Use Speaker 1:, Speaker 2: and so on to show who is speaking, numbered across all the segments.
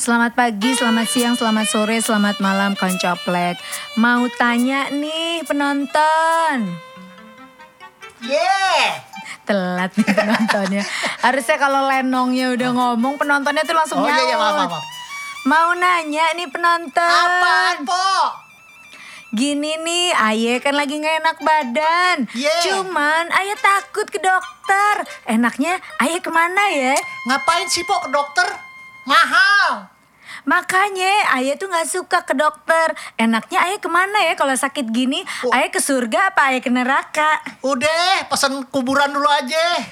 Speaker 1: Selamat pagi, selamat siang, selamat sore, selamat malam koncoplek. Mau tanya nih penonton.
Speaker 2: Yeah.
Speaker 1: Telat nih penontonnya. Harusnya kalau lenongnya udah ngomong penontonnya tuh langsung
Speaker 2: Oh iya iya
Speaker 1: nyaut.
Speaker 2: maaf maaf. maaf.
Speaker 1: Mau nanya nih penonton.
Speaker 2: Apaan po?
Speaker 1: Gini nih, Aye kan lagi nggak enak badan.
Speaker 2: Ye.
Speaker 1: Cuman Aye takut ke dokter. Enaknya Aye kemana ya?
Speaker 2: Ngapain sih po ke dokter? Mahal.
Speaker 1: Makanya Aye tuh nggak suka ke dokter. Enaknya Aye kemana ya kalau sakit gini?
Speaker 2: Oh.
Speaker 1: Aye ke surga apa Aye ke neraka?
Speaker 2: Udah pesen kuburan dulu aja.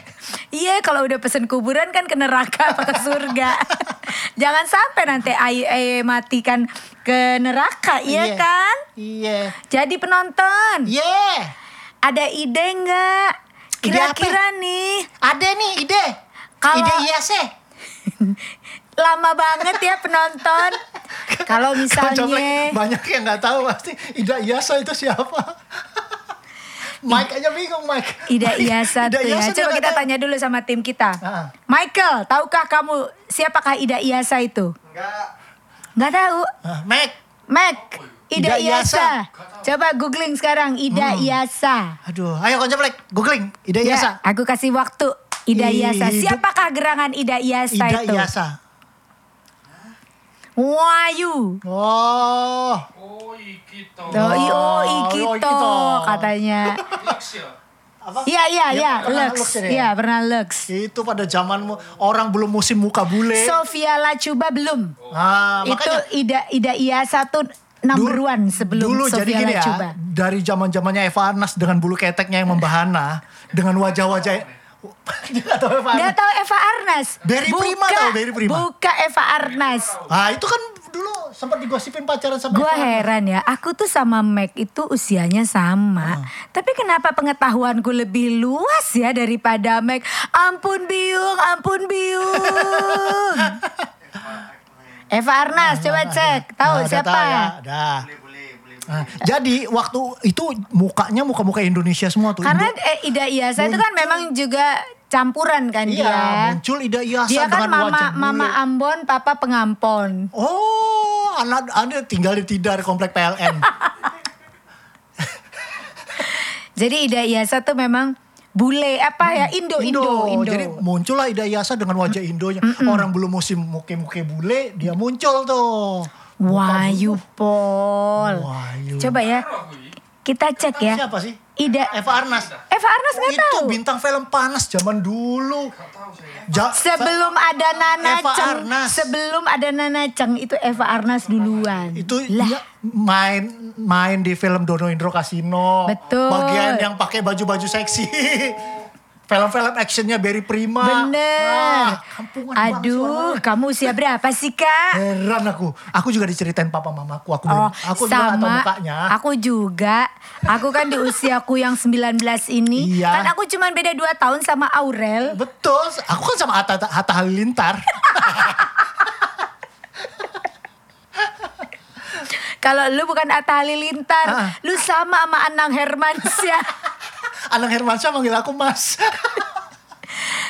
Speaker 1: Iya, kalau udah pesen kuburan kan ke neraka apa ke surga. Jangan sampai nanti Aye, Aye matikan ke neraka, iya
Speaker 2: Iya.
Speaker 1: kan?
Speaker 2: Iya.
Speaker 1: Jadi penonton,
Speaker 2: Yeah.
Speaker 1: ada ide nggak?
Speaker 2: Ide
Speaker 1: Kira-kira nih,
Speaker 2: Ada nih ide.
Speaker 1: Kalau-
Speaker 2: Ide iya sih.
Speaker 1: lama banget ya penonton. Kalau
Speaker 2: Koncoplek,
Speaker 1: misalnya,
Speaker 2: banyak yang nggak tahu pasti Ida Iyasa E itu siapa. Mike aja bingung Mike.
Speaker 1: Ida Iyasa tuh
Speaker 2: Ida
Speaker 1: ya.
Speaker 2: Iyasa dia
Speaker 1: Coba kita
Speaker 2: E nggak tahu.
Speaker 1: tanya dulu sama tim kita.
Speaker 2: Ah.
Speaker 1: Michael, tahukah kamu siapakah Ida Iyasa itu?
Speaker 3: Enggak.
Speaker 1: Nggak tahu.
Speaker 2: Ah, Mike.
Speaker 1: Mac, Ida,
Speaker 2: Ida
Speaker 1: Iyasa. Coba googling sekarang Ida Iyasa.
Speaker 2: Aduh, ayo koncoplek, googling Ida
Speaker 1: Ya,
Speaker 2: Iyasa.
Speaker 1: aku kasih waktu. Ida
Speaker 2: Ida-
Speaker 1: Iyasa. Siapakah gerangan Ida Iyasa
Speaker 2: Ida
Speaker 1: itu?
Speaker 2: Iyasa.
Speaker 1: Wayu.
Speaker 2: Oh,
Speaker 3: Oh, Ikito.
Speaker 1: Doi
Speaker 2: Oh,
Speaker 1: oi
Speaker 2: Ikito.
Speaker 1: gitu katanya.
Speaker 3: Laksia.
Speaker 2: apa?
Speaker 1: Iya iya iya,
Speaker 2: pernah
Speaker 1: Lux.
Speaker 2: Lux ini ya?
Speaker 1: Iya, pernah Lux.
Speaker 2: Itu Gitu pada zamanmu orang belum musim muka bule.
Speaker 1: Sofia Lacuba belum.
Speaker 2: ah,
Speaker 1: itu
Speaker 2: makanya
Speaker 1: Ida Ida Iyasa tuh number
Speaker 2: du-
Speaker 1: one sebelum
Speaker 2: dulu
Speaker 1: Sofia
Speaker 2: jadi gini ya,
Speaker 1: Lacuba.
Speaker 2: dari zaman-zamannya Eva Arnas dengan bulu keteknya yang membahana, dengan wajah-wajah Dia nggak tahu Eva
Speaker 1: Gak
Speaker 2: Arnas.
Speaker 1: tahu Eva Arnas.
Speaker 2: Barry Prima tau, Barry Prima.
Speaker 1: Buka Eva Arnas.
Speaker 2: Ah, itu kan dulu sempat digosipin pacaran sama
Speaker 1: Gue
Speaker 2: Eva Arnas.
Speaker 1: heran ya, aku tuh sama Mac itu usianya sama. Tapi kenapa pengetahuanku lebih luas ya daripada Mac? Ampun biung, ampun biung. Eva Arnas, coba cek. Tahu
Speaker 2: Nah, udah
Speaker 1: siapa?
Speaker 2: tahu ya, udah. Nah, jadi waktu itu mukanya muka-muka Indonesia semua tuh.
Speaker 1: Karena
Speaker 2: Indo-
Speaker 1: eh, Ida Iyasa itu kan memang juga campuran kan
Speaker 2: iya,
Speaker 1: dia.
Speaker 2: muncul Ida Iyasa
Speaker 1: Dia kan
Speaker 2: dengan wajah
Speaker 1: mama,
Speaker 2: bule.
Speaker 1: mama Ambon, papa pengampon.
Speaker 2: Oh, anak ada tinggal di Tidar komplek PLN.
Speaker 1: Jadi Ida Iyasa tuh memang bule apa ya Indo Indo Indo.
Speaker 2: Hmm. Jadi muncullah Ida Iyasa dengan wajah Indonya. Orang belum musim muke-muke bule, dia muncul tuh.
Speaker 1: Wayu Pol.
Speaker 2: Wayu.
Speaker 1: Coba ya kita cek ya.
Speaker 2: Siapa sih?
Speaker 1: Ida
Speaker 2: Eva Arnas.
Speaker 1: Eva Arnas nggak
Speaker 2: itu
Speaker 1: tahu.
Speaker 2: bintang film panas zaman dulu. Ja-
Speaker 1: Sebelum ada Nana
Speaker 2: Eva
Speaker 1: Ceng,
Speaker 2: Arnas.
Speaker 1: sebelum ada Nana Ceng itu Eva Arnas duluan.
Speaker 2: itu iya.
Speaker 1: lah.
Speaker 2: dia main main di film Dono Indro Kasino.
Speaker 1: Betul.
Speaker 2: Bagian yang pakai baju-baju seksi. Film-film actionnya Barry Prima.
Speaker 1: Bener.
Speaker 2: Ah, kampungan banget
Speaker 1: Aduh,
Speaker 2: suaranya. Eh,
Speaker 1: kamu usia berapa sih kak?
Speaker 2: Heran aku. Aku juga diceritain papa mamaku. Aku
Speaker 1: Oh,
Speaker 2: belum, aku juga nggak tahu
Speaker 1: sama.
Speaker 2: mukanya.
Speaker 1: Aku juga. Aku kan di usiaku yang 19 ini.
Speaker 2: Iya.
Speaker 1: Kan aku cuman beda 2 tahun sama Aurel.
Speaker 2: Betul, aku kan sama Hatta, Hatta Halilintar.
Speaker 1: Kalau lu bukan Atta Halilintar,
Speaker 2: Ah.
Speaker 1: lu sama sama Anang Hermansyah.
Speaker 2: Anang Hermansyah manggil aku Mas.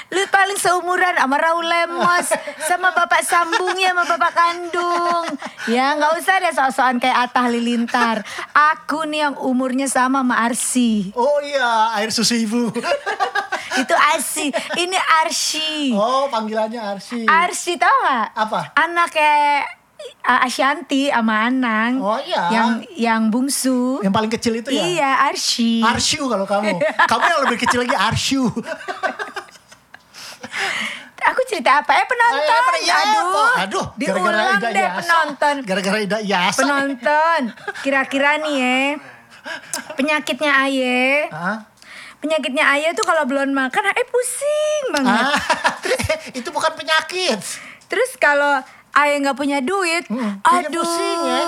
Speaker 1: lu paling seumuran sama Raul Lemos, sama bapak sambungnya, sama bapak kandung. Ya nggak usah deh sok-sokan kayak Atta Halilintar. Aku nih yang umurnya sama sama Arsi.
Speaker 2: Oh iya, air susu ibu.
Speaker 1: Itu Arsi, ini Arsi.
Speaker 2: Oh, panggilannya Arsi.
Speaker 1: Arsi tau gak?
Speaker 2: Apa?
Speaker 1: Anak kayak uh, Ashanti sama Anang.
Speaker 2: Oh, iya.
Speaker 1: Yang yang bungsu.
Speaker 2: Yang paling kecil itu ya?
Speaker 1: Iya, Arsi.
Speaker 2: Arsyu kalau kamu. Kamu yang lebih kecil lagi Arsyu.
Speaker 1: Aku cerita apa? Eh penonton.
Speaker 2: Ayo, apa- ya,
Speaker 1: Aduh.
Speaker 2: kok. Aduh, iya.
Speaker 1: Diulang
Speaker 2: Ida
Speaker 1: deh
Speaker 2: Iyasa.
Speaker 1: penonton.
Speaker 2: Gara-gara Ida Iyasa.
Speaker 1: Penonton. Kira-kira nih ya. Penyakitnya Aye.
Speaker 2: Hah?
Speaker 1: Penyakitnya Aye tuh kalau belum makan Aye pusing banget.
Speaker 2: Ah, itu bukan penyakit.
Speaker 1: Terus kalau Aye nggak punya duit,
Speaker 2: jadi
Speaker 1: aduh,
Speaker 2: Hmm, pusing ya.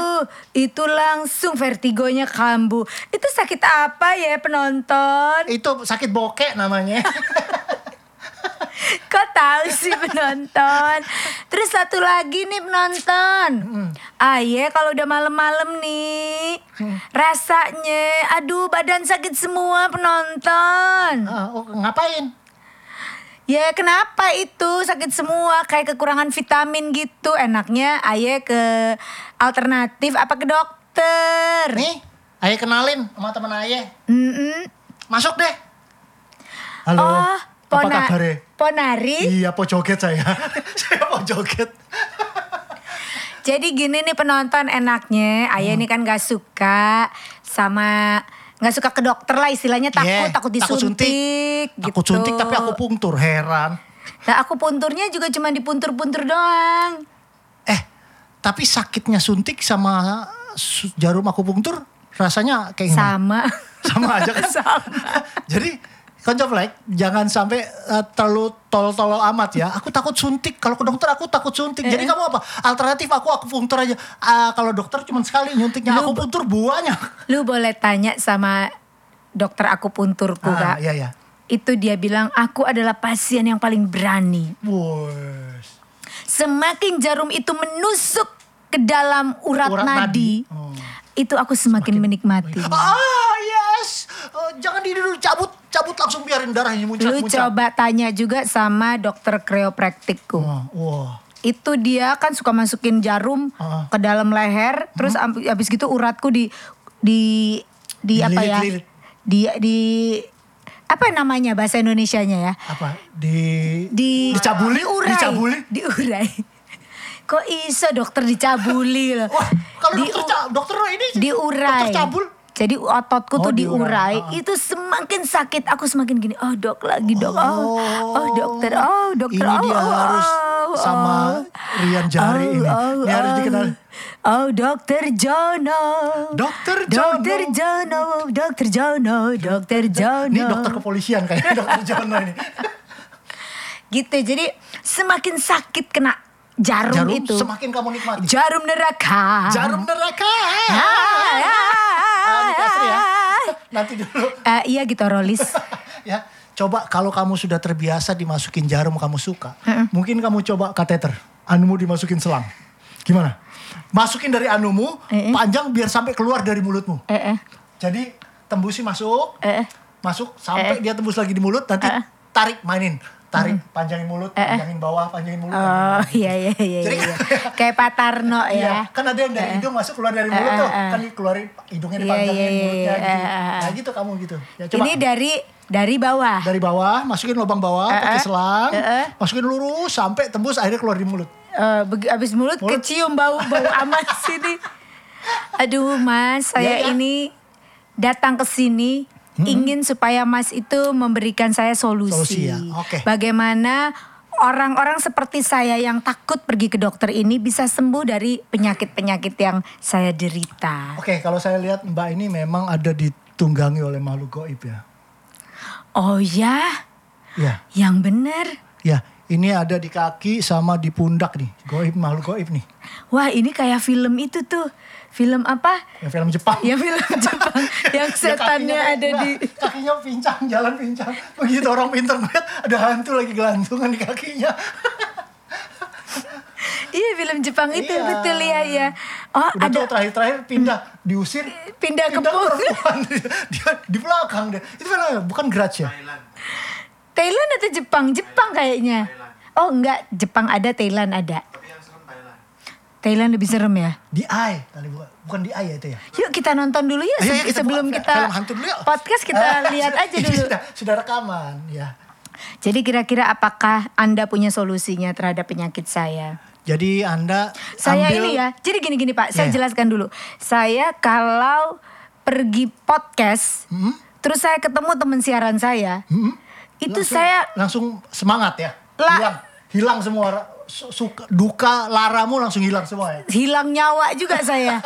Speaker 1: itu langsung vertigonya kambuh. Itu sakit apa ya penonton?
Speaker 2: Itu sakit bokek namanya.
Speaker 1: Kok tahu sih penonton? Terus satu lagi nih penonton.
Speaker 2: Hmm.
Speaker 1: Aye kalau udah malam-malam nih,
Speaker 2: Hmm.
Speaker 1: rasanya aduh badan sakit semua penonton.
Speaker 2: Ah, oh, ngapain?
Speaker 1: Ya kenapa itu sakit semua kayak kekurangan vitamin gitu. Enaknya Aye ke alternatif apa ke dokter.
Speaker 2: Nih, ayah kenalin sama temen ayah.
Speaker 1: Mm-mm.
Speaker 2: Masuk deh. Halo,
Speaker 1: oh,
Speaker 2: apa
Speaker 1: pona-
Speaker 2: kabarnya?
Speaker 1: Ponari.
Speaker 2: Iya, po joget saya. saya po joget.
Speaker 1: Jadi gini nih penonton enaknya,
Speaker 2: Hmm.
Speaker 1: Ayah ini kan gak suka sama nggak suka ke dokter lah istilahnya takut
Speaker 2: Yeah,
Speaker 1: takut
Speaker 2: Iya, takut suntik.
Speaker 1: disuntik gitu.
Speaker 2: Aku suntik tapi aku pungtur, heran.
Speaker 1: Nah, aku punturnya juga cuma dipuntur-puntur doang.
Speaker 2: Eh, tapi sakitnya suntik sama su- jarum aku pungtur rasanya kayak gimana?
Speaker 1: Sama.
Speaker 2: Sama aja kan? Jadi, konco Black, jangan sampai eh, terlalu tolol-tolol amat ya. Aku takut suntik. Kalau ke dokter aku takut
Speaker 1: Eh.
Speaker 2: suntik. Jadi kamu apa? Alternatif aku aku pungtur aja. Ah, kalau dokter cuma sekali nyuntiknya aku pungtur buahnya.
Speaker 1: Lu boleh tanya sama dokter aku punturku, Kak.
Speaker 2: Ah, iya iya.
Speaker 1: Itu dia bilang aku adalah pasien yang paling berani.
Speaker 2: Wes.
Speaker 1: Semakin jarum itu menusuk ke dalam urat,
Speaker 2: Urat
Speaker 1: nadi,
Speaker 2: nadi. Oh.
Speaker 1: itu aku semakin, menikmati.
Speaker 2: Ah, yes. Eh, jangan di dulu cabut, cabut langsung biarin darahnya muncrat
Speaker 1: Lu
Speaker 2: muncrat.
Speaker 1: coba tanya juga sama dokter kreopraktikku.
Speaker 2: Wah, wah.
Speaker 1: Itu dia kan suka masukin jarum
Speaker 2: Heeh.
Speaker 1: ke dalam leher, terus amp- abis gitu uratku di di di apa ya?
Speaker 2: Dililit-lilit.
Speaker 1: Di di apa namanya bahasa Indonesianya ya?
Speaker 2: Apa di
Speaker 1: Di
Speaker 2: dicabuli?
Speaker 1: diurai.
Speaker 2: Dicabuli?
Speaker 1: Diurai. Kok iso dokter dicabuli loh?
Speaker 2: Wah, kalau
Speaker 1: Di-
Speaker 2: dokter, ca- dokter ini
Speaker 1: diurai.
Speaker 2: Dokter cabul.
Speaker 1: Jadi ototku
Speaker 2: Oh,
Speaker 1: tuh
Speaker 2: diurai.
Speaker 1: diurai,
Speaker 2: Ah.
Speaker 1: itu semakin sakit. Aku semakin gini, oh dok lagi dok, oh, oh, dokter, oh dokter,
Speaker 2: Ini
Speaker 1: oh,
Speaker 2: dia
Speaker 1: oh,
Speaker 2: harus
Speaker 1: oh,
Speaker 2: sama Rian Jari
Speaker 1: oh,
Speaker 2: ini.
Speaker 1: oh,
Speaker 2: Ini harus
Speaker 1: oh.
Speaker 2: dikenal.
Speaker 1: Oh dokter Jono.
Speaker 2: Dokter
Speaker 1: Dokter
Speaker 2: Jono.
Speaker 1: Jono, dokter Jono, dokter Jono.
Speaker 2: Ini dokter kepolisian kayaknya dokter Jono ini.
Speaker 1: Gitu, jadi semakin sakit kena jarum,
Speaker 2: Jarum
Speaker 1: itu.
Speaker 2: semakin kamu nikmati.
Speaker 1: Jarum neraka.
Speaker 2: Jarum neraka.
Speaker 1: Ah,
Speaker 2: Ah, di kasur ya.
Speaker 1: ah, ah.
Speaker 2: Nanti dulu.
Speaker 1: Eh, iya gitu Rolis.
Speaker 2: ya coba kalau kamu sudah terbiasa dimasukin jarum kamu suka mungkin kamu coba kateter anumu dimasukin selang gimana masukin dari anumu
Speaker 1: Eh, eh.
Speaker 2: panjang biar sampai keluar dari mulutmu
Speaker 1: Eh, eh.
Speaker 2: jadi tembusin masuk
Speaker 1: Eh, eh.
Speaker 2: masuk sampai dia tembus lagi di mulut nanti tarik mainin tarik panjangin mulut panjangin bawah panjangin mulut
Speaker 1: Oh
Speaker 2: panjangin bawah.
Speaker 1: iya iya iya
Speaker 2: Jadi- kan-
Speaker 1: iya. Kayak Pak Tarno ya.
Speaker 2: Iya, kan ada yang dari hidung masuk keluar dari mulut
Speaker 1: Eh, eh,
Speaker 2: tuh,
Speaker 1: eh.
Speaker 2: kan dikeluarin hidungnya
Speaker 1: Iya, iya,
Speaker 2: dipanjangin
Speaker 1: iya,
Speaker 2: mulutnya
Speaker 1: iya,
Speaker 2: gitu.
Speaker 1: eh, eh.
Speaker 2: Nah gitu kamu gitu. Ya,
Speaker 1: Ini dari dari bawah.
Speaker 2: dari bawah masukin lubang bawah
Speaker 1: Eh,
Speaker 2: pakai selang masukin lurus sampai tembus akhirnya keluar di mulut
Speaker 1: Eh, begi- abis mulut,
Speaker 2: Mulut.
Speaker 1: kecium bau bau amat sini. Aduh Mas, saya
Speaker 2: Iya, iya.
Speaker 1: ini datang ke sini ingin supaya Mas itu memberikan saya
Speaker 2: Solusi,
Speaker 1: solusi.
Speaker 2: ya. Oke.
Speaker 1: Bagaimana orang-orang seperti saya yang takut pergi ke dokter ini bisa sembuh dari penyakit-penyakit yang saya derita.
Speaker 2: oke kalau saya lihat mbak ini memang ada ditunggangi oleh makhluk goib ya
Speaker 1: Oh ya,
Speaker 2: ya
Speaker 1: yang benar.
Speaker 2: ya ini ada di kaki sama di pundak nih goib makhluk goib nih
Speaker 1: Wah ini kayak film itu tuh. Film apa?
Speaker 2: yang film Jepang
Speaker 1: Ya film Jepang yang setannya
Speaker 2: kakinya-
Speaker 1: ada di...
Speaker 2: Nah, kakinya pincang jalan pincang begitu orang pinter banget ada hantu lagi gelantungan di kakinya
Speaker 1: Iya film Jepang itu
Speaker 2: Iya.
Speaker 1: betul ya ya. Oh
Speaker 2: udah
Speaker 1: ada
Speaker 2: tuh terakhir-terakhir pindah diusir
Speaker 1: pindah ke Pung.
Speaker 2: perempuan dia di belakang deh itu film bukan Grudge ya
Speaker 3: Thailand.
Speaker 1: Thailand atau Jepang? Jepang kayaknya. Oh enggak, Jepang ada, Thailand ada.
Speaker 3: Tapi yang serem Thailand.
Speaker 1: Thailand lebih serem ya.
Speaker 2: di eye kali bukan bukan di eye ya itu ya
Speaker 1: Yuk kita nonton dulu ya
Speaker 2: Ayo,
Speaker 1: se-
Speaker 2: ayo, kita
Speaker 1: sebelum
Speaker 2: buka
Speaker 1: kita
Speaker 2: film hantu dulu yuk.
Speaker 1: podcast kita lihat aja
Speaker 2: Ini
Speaker 1: dulu.
Speaker 2: sudah, sudah rekaman ya
Speaker 1: Jadi kira-kira apakah Anda punya solusinya terhadap penyakit saya?
Speaker 2: jadi anda
Speaker 1: Saya
Speaker 2: ambil
Speaker 1: ini ya. Jadi gini-gini Pak, saya
Speaker 2: Iya.
Speaker 1: jelaskan dulu. Saya kalau pergi podcast,
Speaker 2: Hmm?
Speaker 1: terus saya ketemu teman siaran saya, itu
Speaker 2: langsung-
Speaker 1: saya
Speaker 2: langsung semangat ya
Speaker 1: La-
Speaker 2: hilang hilang semua ra- su- suka duka laramu langsung hilang semua ya
Speaker 1: hilang nyawa juga saya.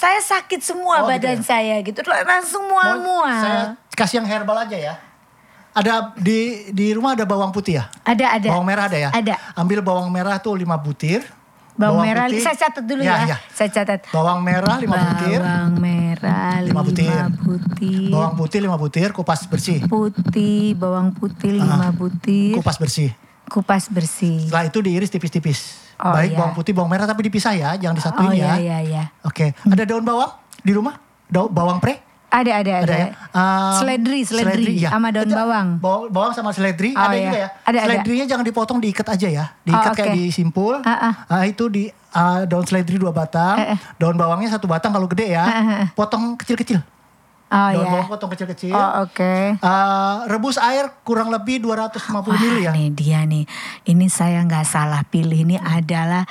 Speaker 1: saya sakit semua
Speaker 2: Oh, gitu
Speaker 1: badan
Speaker 2: ya?
Speaker 1: saya gitu, langsung
Speaker 2: Mau saya
Speaker 1: mual-mual.
Speaker 2: kasih yang herbal aja ya ada di di rumah ada bawang putih ya
Speaker 1: Ada ada.
Speaker 2: bawang merah ada ya
Speaker 1: Ada.
Speaker 2: ambil bawang merah tuh 5 butir
Speaker 1: Bawang, merah,
Speaker 2: putih-
Speaker 1: saya catat dulu ya. Saya catat.
Speaker 2: bawang merah 5 butir
Speaker 1: Bawang merah lima
Speaker 2: Lima butir.
Speaker 1: butir.
Speaker 2: bawang putih 5 butir kupas bersih
Speaker 1: Putih, bawang putih lima butir.
Speaker 2: Ah. kupas bersih
Speaker 1: Kupas bersih.
Speaker 2: Setelah itu diiris tipis-tipis.
Speaker 1: Oh,
Speaker 2: Baik
Speaker 1: iya.
Speaker 2: bawang putih, bawang merah tapi dipisah ya, jangan
Speaker 1: Oh
Speaker 2: disatuin
Speaker 1: iya
Speaker 2: ya.
Speaker 1: iya iya.
Speaker 2: Oke, ada daun bawang di rumah? Daun bawang pre?
Speaker 1: Ada, ada, ada.
Speaker 2: Ada ya? Um,
Speaker 1: seledri, seledri.
Speaker 2: ya.
Speaker 1: Sama daun
Speaker 2: Itu,
Speaker 1: bawang.
Speaker 2: baw- Bawang sama seledri,
Speaker 1: Hmm. Oh,
Speaker 2: ada
Speaker 1: iya.
Speaker 2: juga ya.
Speaker 1: Ada, ada.
Speaker 2: Seledrinya jangan dipotong, diikat aja ya. Diikat
Speaker 1: Oh,
Speaker 2: kayak
Speaker 1: oke.
Speaker 2: disimpul.
Speaker 1: Ah, ah.
Speaker 2: Ah, itu di ah, daun seledri dua batang,
Speaker 1: Eh, eh.
Speaker 2: daun bawangnya satu batang kalau gede ya.
Speaker 1: Ah, ah, ah.
Speaker 2: Potong kecil-kecil.
Speaker 1: Oh ya.
Speaker 2: daun bawang iya. potong kecil-kecil.
Speaker 1: Oh oke.
Speaker 2: Ah, rebus air kurang lebih 250
Speaker 1: Wah,
Speaker 2: ml ya.
Speaker 1: Nih dia nih. Ini saya nggak salah pilih. Ini adalah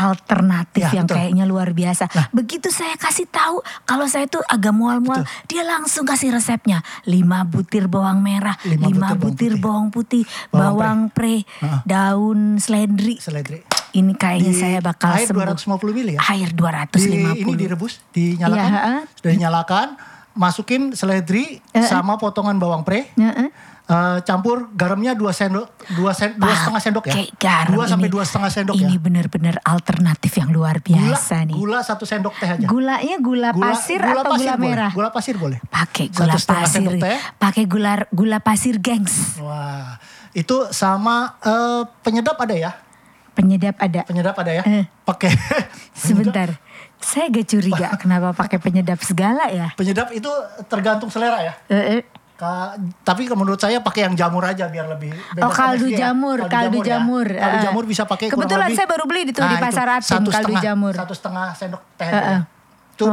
Speaker 1: alternatif
Speaker 2: Ya,
Speaker 1: yang
Speaker 2: betul. Nah.
Speaker 1: kayaknya luar biasa. Begitu saya kasih tahu kalau saya tuh agak mual-mual, dia langsung kasih resepnya. 5 butir bawang merah, 5
Speaker 2: Lima
Speaker 1: butir
Speaker 2: butir
Speaker 1: bawang putih,
Speaker 2: Bawang
Speaker 1: bawang pre,
Speaker 2: Heeh.
Speaker 1: daun seledri.
Speaker 2: Seledri.
Speaker 1: Ini kayaknya saya bakal
Speaker 2: air
Speaker 1: sembuh.
Speaker 2: 250 ml ya.
Speaker 1: Air
Speaker 2: Di,
Speaker 1: 250.
Speaker 2: ini direbus, dinyalakan.
Speaker 1: Iya, heeh.
Speaker 2: Dinyalakan, masukin seledri
Speaker 1: Heeh.
Speaker 2: sama potongan bawang pre.
Speaker 1: Heeh.
Speaker 2: Eh, campur garamnya 2 sendok 2 sen, dua setengah sendok ya.
Speaker 1: Pakai garam
Speaker 2: 2 sampai
Speaker 1: ini.
Speaker 2: 2 setengah sendok
Speaker 1: ini
Speaker 2: ya.
Speaker 1: benar-benar alternatif yang luar
Speaker 2: Gula,
Speaker 1: biasa nih.
Speaker 2: gula 1 sendok teh aja.
Speaker 1: Gulanya gula, pasir atau gula
Speaker 2: boleh.
Speaker 1: merah?
Speaker 2: Ya. Gula pasir boleh.
Speaker 1: Pakai
Speaker 2: Satu
Speaker 1: gula
Speaker 2: setengah
Speaker 1: pasir.
Speaker 2: sendok teh.
Speaker 1: Pakai gula gula pasir, gengs.
Speaker 2: Wah, itu sama eh, penyedap ada ya?
Speaker 1: Penyedap ada.
Speaker 2: Penyedap ada ya?
Speaker 1: Eh.
Speaker 2: Pakai
Speaker 1: Sebentar. Saya agak curiga kenapa pakai penyedap segala ya?
Speaker 2: penyedap itu tergantung selera ya.
Speaker 1: Eh, eh.
Speaker 2: Ka- tapi menurut saya pakai yang jamur aja biar lebih
Speaker 1: Oh
Speaker 2: bebas
Speaker 1: kaldu
Speaker 2: energi ya.
Speaker 1: jamur, kaldu jamur.
Speaker 2: ya. Kaldu
Speaker 1: Eh.
Speaker 2: jamur bisa pakai kurang
Speaker 1: Kebetulan
Speaker 2: lebih-
Speaker 1: saya baru beli itu di
Speaker 2: Nah,
Speaker 1: pasar atin
Speaker 2: satu
Speaker 1: kaldu
Speaker 2: setengah-
Speaker 1: jamur.
Speaker 2: Satu setengah sendok teh
Speaker 1: Eh,
Speaker 2: aja
Speaker 1: eh.
Speaker 2: ya. Itu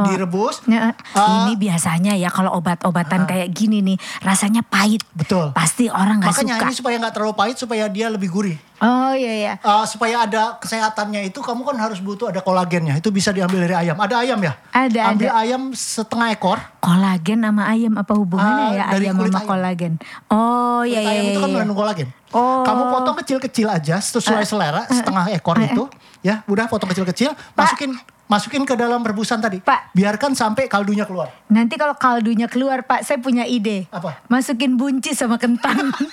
Speaker 1: Oh.
Speaker 2: direbus.
Speaker 1: Ya,
Speaker 2: Eh,
Speaker 1: ini biasanya ya kalau obat-obatan kayak gini nih rasanya pahit.
Speaker 2: Ah. Betul.
Speaker 1: Pasti orang nggak
Speaker 2: Makanya
Speaker 1: suka.
Speaker 2: ini supaya nggak terlalu pahit, supaya dia lebih gurih.
Speaker 1: Oh iya iya.
Speaker 2: Eh, supaya ada kesehatannya itu kamu kan harus butuh ada kolagennya. Itu bisa diambil dari ayam. Ada ayam ya?
Speaker 1: Ada,
Speaker 2: Ambil
Speaker 1: ada.
Speaker 2: ayam setengah ekor.
Speaker 1: Kolagen sama ayam apa hubungannya
Speaker 2: Ah,
Speaker 1: ya
Speaker 2: dari
Speaker 1: ayam
Speaker 2: kulit
Speaker 1: sama
Speaker 2: ayam.
Speaker 1: kolagen? Oh iya
Speaker 2: Kulit
Speaker 1: iya.
Speaker 2: ayam itu kan
Speaker 1: iya.
Speaker 2: mengandung kolagen.
Speaker 1: Oh.
Speaker 2: Kamu potong kecil-kecil aja sesuai selera setengah ekor
Speaker 1: eh, eh.
Speaker 2: itu, ya. Udah potong kecil-kecil, masukin masukin ke dalam rebusan tadi.
Speaker 1: Pak.
Speaker 2: Biarkan sampai kaldunya keluar.
Speaker 1: Nanti kalau kaldunya keluar Pak, saya punya ide.
Speaker 2: Apa?
Speaker 1: Masukin buncis sama kentang.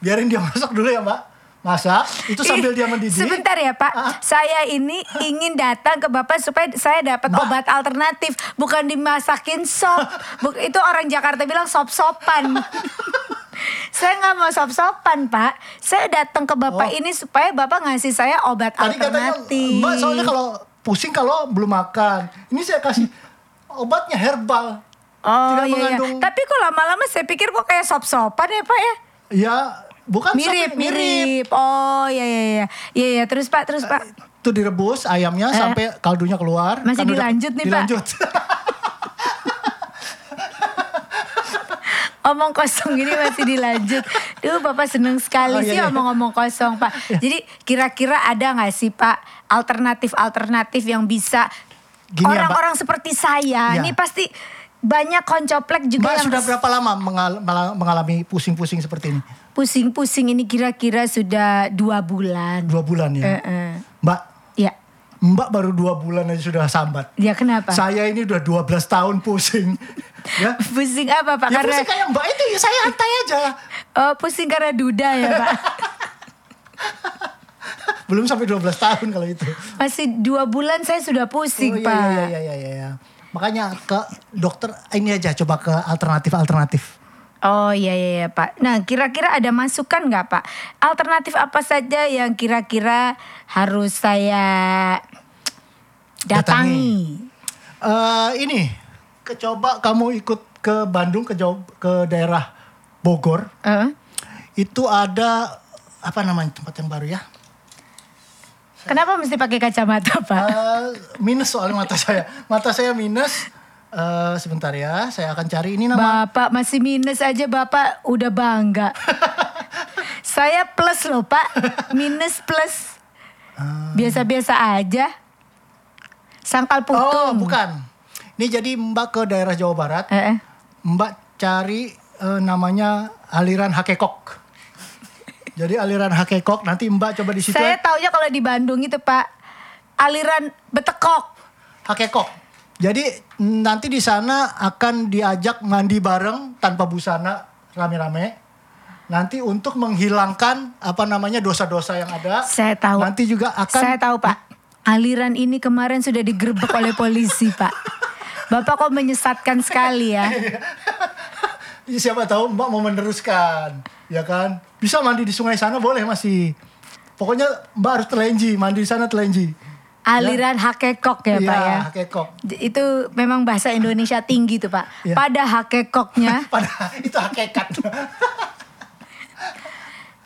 Speaker 2: Biarin dia masak dulu ya, Mbak. Masak, itu sambil dia mendidih. Ah.
Speaker 1: Sebentar ya Pak, saya ini ingin datang ke Bapak supaya saya dapat
Speaker 2: Nah.
Speaker 1: obat alternatif, bukan dimasakin sop. Buk- itu orang Jakarta bilang sop-sopan. saya nggak mau sop-sopan Pak, saya datang ke Bapak
Speaker 2: Oh.
Speaker 1: ini supaya Bapak ngasih saya obat
Speaker 2: Tadi katanya
Speaker 1: alternatif.
Speaker 2: Mbak soalnya kalau pusing kalau belum makan. Ini saya kasih obatnya herbal.
Speaker 1: Oh
Speaker 2: Tidak
Speaker 1: iya, iya.
Speaker 2: mengandung
Speaker 1: Tapi kok lama-lama saya pikir kok kayak sop-sopan ya Pak ya?
Speaker 2: ya bukan
Speaker 1: Mirip,
Speaker 2: sampai-
Speaker 1: mirip. Oh iya iya iya. Iya iya, terus Pak,
Speaker 2: Eh,
Speaker 1: terus Pak.
Speaker 2: Itu direbus ayamnya sampai kaldunya keluar.
Speaker 1: Eh. masih
Speaker 2: Kaldunya-
Speaker 1: dilanjut nih, Pak.
Speaker 2: dilanjut.
Speaker 1: Omong kosong ini masih dilanjut. Duh, Bapak seneng sekali
Speaker 2: Oh, iya,
Speaker 1: sih
Speaker 2: iya.
Speaker 1: omong-omong kosong, Pak. Jadi kira-kira ada nggak sih, Pak, alternatif-alternatif yang bisa
Speaker 2: Gini ya,
Speaker 1: orang-orang seperti saya,
Speaker 2: Iya.
Speaker 1: ini pasti banyak koncoplek juga
Speaker 2: Mbak
Speaker 1: yang
Speaker 2: sudah berapa lama mengal- mala- mengalami pusing-pusing seperti ini?
Speaker 1: pusing-pusing ini kira-kira sudah dua bulan.
Speaker 2: Dua bulan ya.
Speaker 1: Heeh.
Speaker 2: Mbak,
Speaker 1: Ya,
Speaker 2: Mbak baru dua bulan aja sudah sambat.
Speaker 1: ya kenapa?
Speaker 2: Saya ini udah 12 tahun pusing. ya.
Speaker 1: pusing apa, Pak?
Speaker 2: Ya
Speaker 1: karena
Speaker 2: pusing kayak Mbak itu ya saya antai aja.
Speaker 1: oh, pusing karena duda ya, Pak.
Speaker 2: Belum sampai 12 tahun kalau itu.
Speaker 1: Masih dua bulan saya sudah pusing,
Speaker 2: iya,
Speaker 1: Pak.
Speaker 2: iya, iya, iya, iya, iya. Makanya ke dokter ini aja coba ke alternatif-alternatif.
Speaker 1: Oh iya iya iya, Pak. Nah kira-kira ada masukan nggak Pak? Alternatif apa saja yang kira-kira harus saya datangi?
Speaker 2: Eh ini ke- coba kamu ikut ke Bandung ke jauh, ke daerah Bogor.
Speaker 1: Eh?
Speaker 2: Itu ada apa namanya tempat yang baru ya?
Speaker 1: Kenapa mesti pakai kacamata Pak?
Speaker 2: Eh, minus soal mata saya. Mata saya minus. Eh sebentar ya, saya akan cari ini nama.
Speaker 1: Bapak masih minus aja Bapak udah bangga. saya plus loh Pak, minus plus. Biasa-biasa aja. Sangkal
Speaker 2: Ah. Oh,
Speaker 1: putung.
Speaker 2: bukan. Ini jadi Mbak ke daerah Jawa Barat.
Speaker 1: Eh, eh.
Speaker 2: Mbak cari eh, namanya aliran hakekok. Jadi aliran hakekok nanti Mbak coba di situ.
Speaker 1: Saya taunya kalau di Bandung itu Pak aliran betekok.
Speaker 2: Hakekok. Jadi mm, nanti di sana akan diajak mandi bareng tanpa busana rame-rame. Nanti untuk menghilangkan apa namanya dosa-dosa yang ada.
Speaker 1: Saya tahu.
Speaker 2: Nanti juga akan
Speaker 1: Saya tahu Pak. Aliran ini kemarin sudah digerebek oleh polisi Pak. Bapak kok menyesatkan sekali ya.
Speaker 2: siapa tahu Mbak mau meneruskan, ya kan? Bisa mandi di sungai sana boleh masih. Pokoknya Mbak harus telenji, mandi di sana telenji.
Speaker 1: aliran hakekok ya Pak ya.
Speaker 2: Iya, hakekok.
Speaker 1: D- Itu memang bahasa Indonesia tinggi tuh Pak.
Speaker 2: Iya.
Speaker 1: Pada hakekoknya.
Speaker 2: Padahal itu hakikat.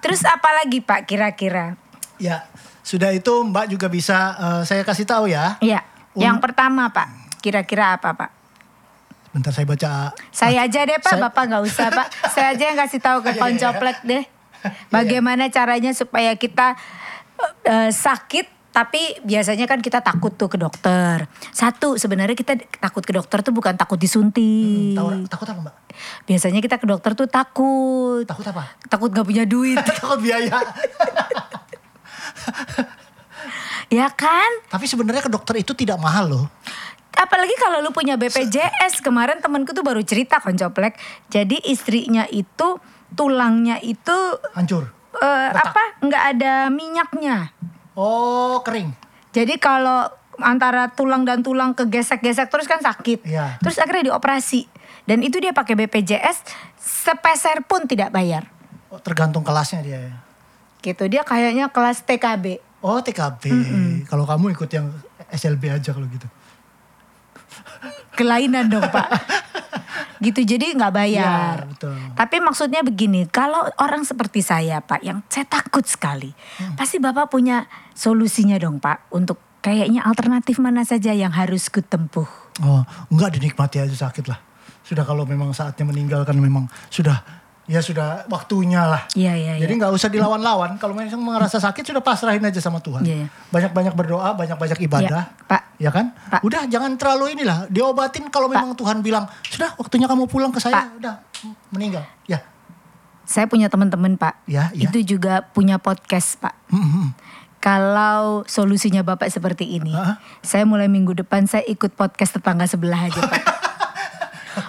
Speaker 1: Terus apa lagi Pak kira-kira?
Speaker 2: ya, sudah itu Mbak juga bisa eh, saya kasih tahu ya.
Speaker 1: Ya,
Speaker 2: Um-
Speaker 1: yang pertama Pak, kira-kira apa Pak?
Speaker 2: Bentar saya baca.
Speaker 1: Saya aja deh Pak,
Speaker 2: Saya-
Speaker 1: Bapak nggak usah Pak. Saya aja yang kasih tahu ke
Speaker 2: Iya, iya,
Speaker 1: koncoplek deh. Bagaimana caranya supaya kita eh, eh, sakit tapi biasanya kan kita takut tuh ke dokter. Satu, sebenarnya kita takut ke dokter tuh bukan takut disuntik.
Speaker 2: Hmm, Tahu- takut apa Mbak?
Speaker 1: Biasanya kita ke dokter tuh takut.
Speaker 2: Takut apa?
Speaker 1: Takut gak punya duit.
Speaker 2: takut biaya.
Speaker 1: ya kan?
Speaker 2: Tapi sebenarnya ke dokter itu tidak mahal loh.
Speaker 1: Apalagi kalau lu punya BPJS kemarin temenku tuh baru cerita koncoplek. Jadi istrinya itu tulangnya itu
Speaker 2: Hancur.
Speaker 1: eh,
Speaker 2: Retak.
Speaker 1: apa nggak ada minyaknya.
Speaker 2: Oh, kering.
Speaker 1: Jadi kalau antara tulang dan tulang kegesek-gesek terus kan sakit.
Speaker 2: Iya.
Speaker 1: Terus akhirnya dioperasi dan itu dia pakai BPJS sepeser pun tidak bayar.
Speaker 2: Oh, tergantung kelasnya dia ya.
Speaker 1: Gitu dia kayaknya kelas TKB.
Speaker 2: Oh, TKB. Kalau kamu ikut yang SLB aja kalau gitu.
Speaker 1: kelainan dong pak gitu jadi nggak bayar
Speaker 2: Iya, betul.
Speaker 1: tapi maksudnya begini kalau orang seperti saya pak yang saya takut sekali
Speaker 2: Hmm.
Speaker 1: pasti bapak punya solusinya dong pak untuk kayaknya alternatif mana saja yang harus kutempuh
Speaker 2: Oh, enggak dinikmati aja sakit lah. Sudah kalau memang saatnya meninggalkan memang sudah ya sudah waktunya lah.
Speaker 1: Iya, iya,
Speaker 2: Jadi nggak usah dilawan-lawan. Kalau memang merasa sakit sudah pasrahin aja sama Tuhan.
Speaker 1: Iya, iya.
Speaker 2: Banyak-banyak berdoa, banyak-banyak ibadah.
Speaker 1: Iya, Pak.
Speaker 2: Ya kan?
Speaker 1: Pak.
Speaker 2: Udah jangan terlalu inilah diobatin kalau memang Tuhan bilang, "Sudah waktunya kamu pulang ke saya."
Speaker 1: Pak.
Speaker 2: Udah meninggal. Ya.
Speaker 1: saya punya teman-teman pak
Speaker 2: Ya, iya.
Speaker 1: itu juga punya podcast pak
Speaker 2: Mm-mm.
Speaker 1: kalau solusinya bapak seperti ini
Speaker 2: Hah?
Speaker 1: saya mulai minggu depan saya ikut podcast tetangga sebelah aja pak